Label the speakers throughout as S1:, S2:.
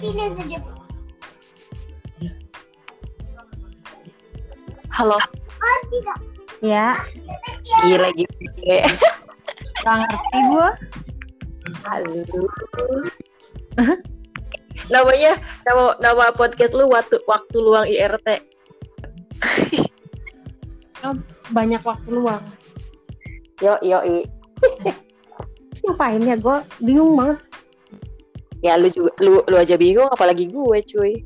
S1: sini aja dia.
S2: Halo.
S1: Oh tidak.
S3: Ya,
S2: Gila gitu ya. gila.
S3: nggak ngerti gue.
S2: Halo. Namanya nama nama podcast lu waktu waktu luang IRT.
S3: Banyak waktu luang.
S2: Yo yo i.
S3: Ngapain ya gue? Bingung banget.
S2: Ya lu juga lu lu aja bingung apalagi gue cuy.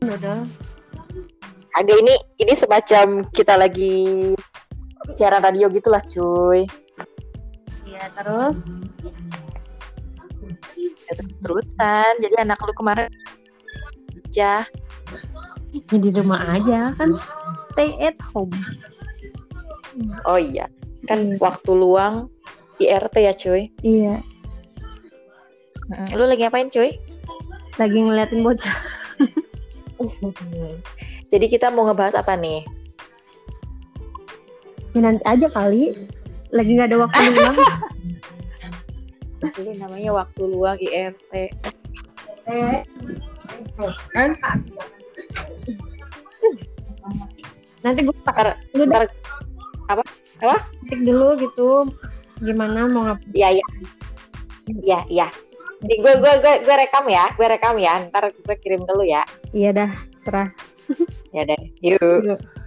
S3: Udah.
S2: Agak ini ini semacam kita lagi siaran radio gitulah cuy.
S3: Iya, terus
S2: Terusan jadi anak lu kemarin aja.
S3: ya di rumah aja kan stay at home.
S2: Oh iya. Kan waktu luang IRT ya cuy.
S3: Iya,
S2: Lu lagi ngapain cuy?
S3: lagi ngeliatin bocah.
S2: Jadi kita mau ngebahas apa nih?
S3: Ya nanti aja kali. Lagi nggak ada waktu luang.
S2: Ini namanya waktu luang IRT.
S3: Kan? nanti gue
S2: Ntar,
S3: Lu
S2: ntar,
S3: praktik dulu gitu. Gimana mau ngapain?
S2: ya ya, ya ya. Di gue gue gue gue rekam ya, gue rekam ya. Ntar gue kirim ke lu ya.
S3: Iya dah, serah.
S2: Ya deh. Yuk.
S3: Yuk.